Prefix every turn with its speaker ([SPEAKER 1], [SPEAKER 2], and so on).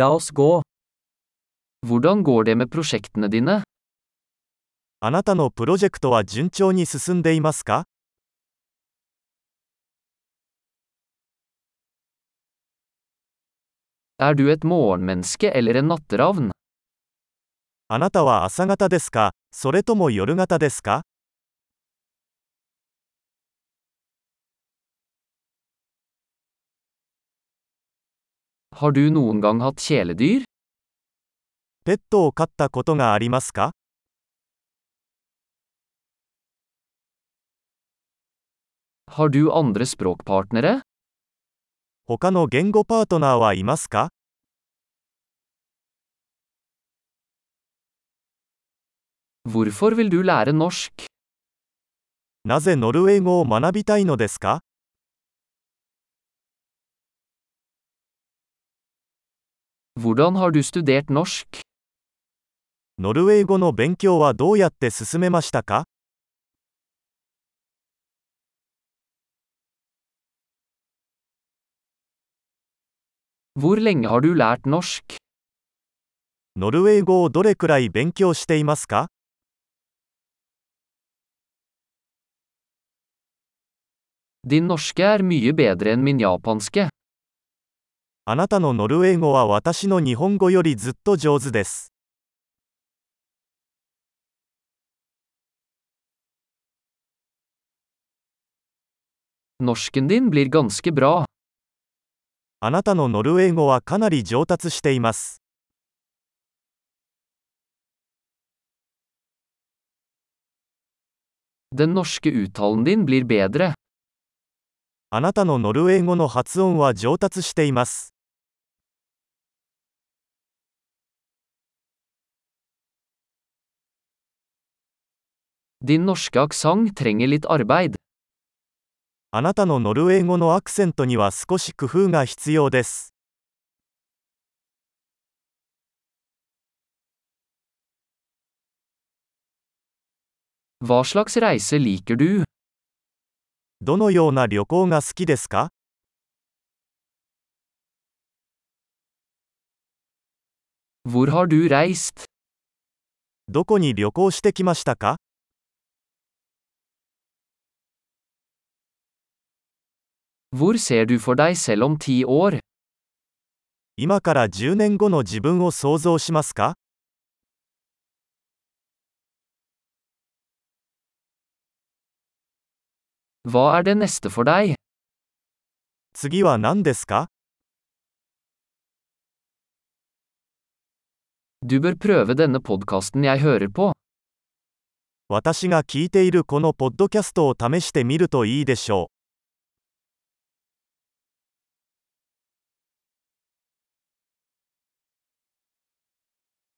[SPEAKER 1] La oss gå. Hvordan går det med prosjektene dine?
[SPEAKER 2] あなたのプロジェクトは順調に進んでいますか
[SPEAKER 1] Er du et morgenmenneske eller en natteravn?
[SPEAKER 2] あなたは朝方ですかそれとも夜型ですか
[SPEAKER 1] Har du noen gang hatt kjæledyr?
[SPEAKER 2] ペットを飼ったことがありますか
[SPEAKER 1] Har du andre språkpartnere?
[SPEAKER 2] 他の言語パートナーはいますか
[SPEAKER 1] Hvorfor vil du lære norsk?
[SPEAKER 2] なぜノルウェー語を学びたいのですか
[SPEAKER 1] Hvordan har du studert norsk?
[SPEAKER 2] ノルウェー語の勉強はどうやって進めましたか
[SPEAKER 1] Hvor lenge har du lært norsk?
[SPEAKER 2] ノルウェー語をどれくらい勉強していますか
[SPEAKER 1] Din norske er mye bedre enn min japanske.
[SPEAKER 2] あなたのノルウェー語は私の日本語よりずっと上手です。
[SPEAKER 1] Norsken din blir ganske bra.
[SPEAKER 2] あなたのノルウェー語はかなり上達しています。
[SPEAKER 1] Den norske uttalen din blir bedre.
[SPEAKER 2] あなたのノルウェー語の発音は上達しています。
[SPEAKER 1] Din norske aksang trenger litt arbeid.
[SPEAKER 2] あなたのノルウェー語のアクセントには少し工夫が必要です。
[SPEAKER 1] Hva slags reise liker du?
[SPEAKER 2] どのような旅行が好きですか
[SPEAKER 1] Hvor har du reist?
[SPEAKER 2] どこに旅行してきましたか
[SPEAKER 1] Hvor ser du for deg selv om ti år?
[SPEAKER 2] 今から10年後の自分を想像しますか
[SPEAKER 1] Hva er det neste for deg?
[SPEAKER 2] 次は何ですか
[SPEAKER 1] Du bør prøve denne podkasten jeg hører på.
[SPEAKER 2] 私が聞いているこのポッドキャストを試してみるといいでしょう。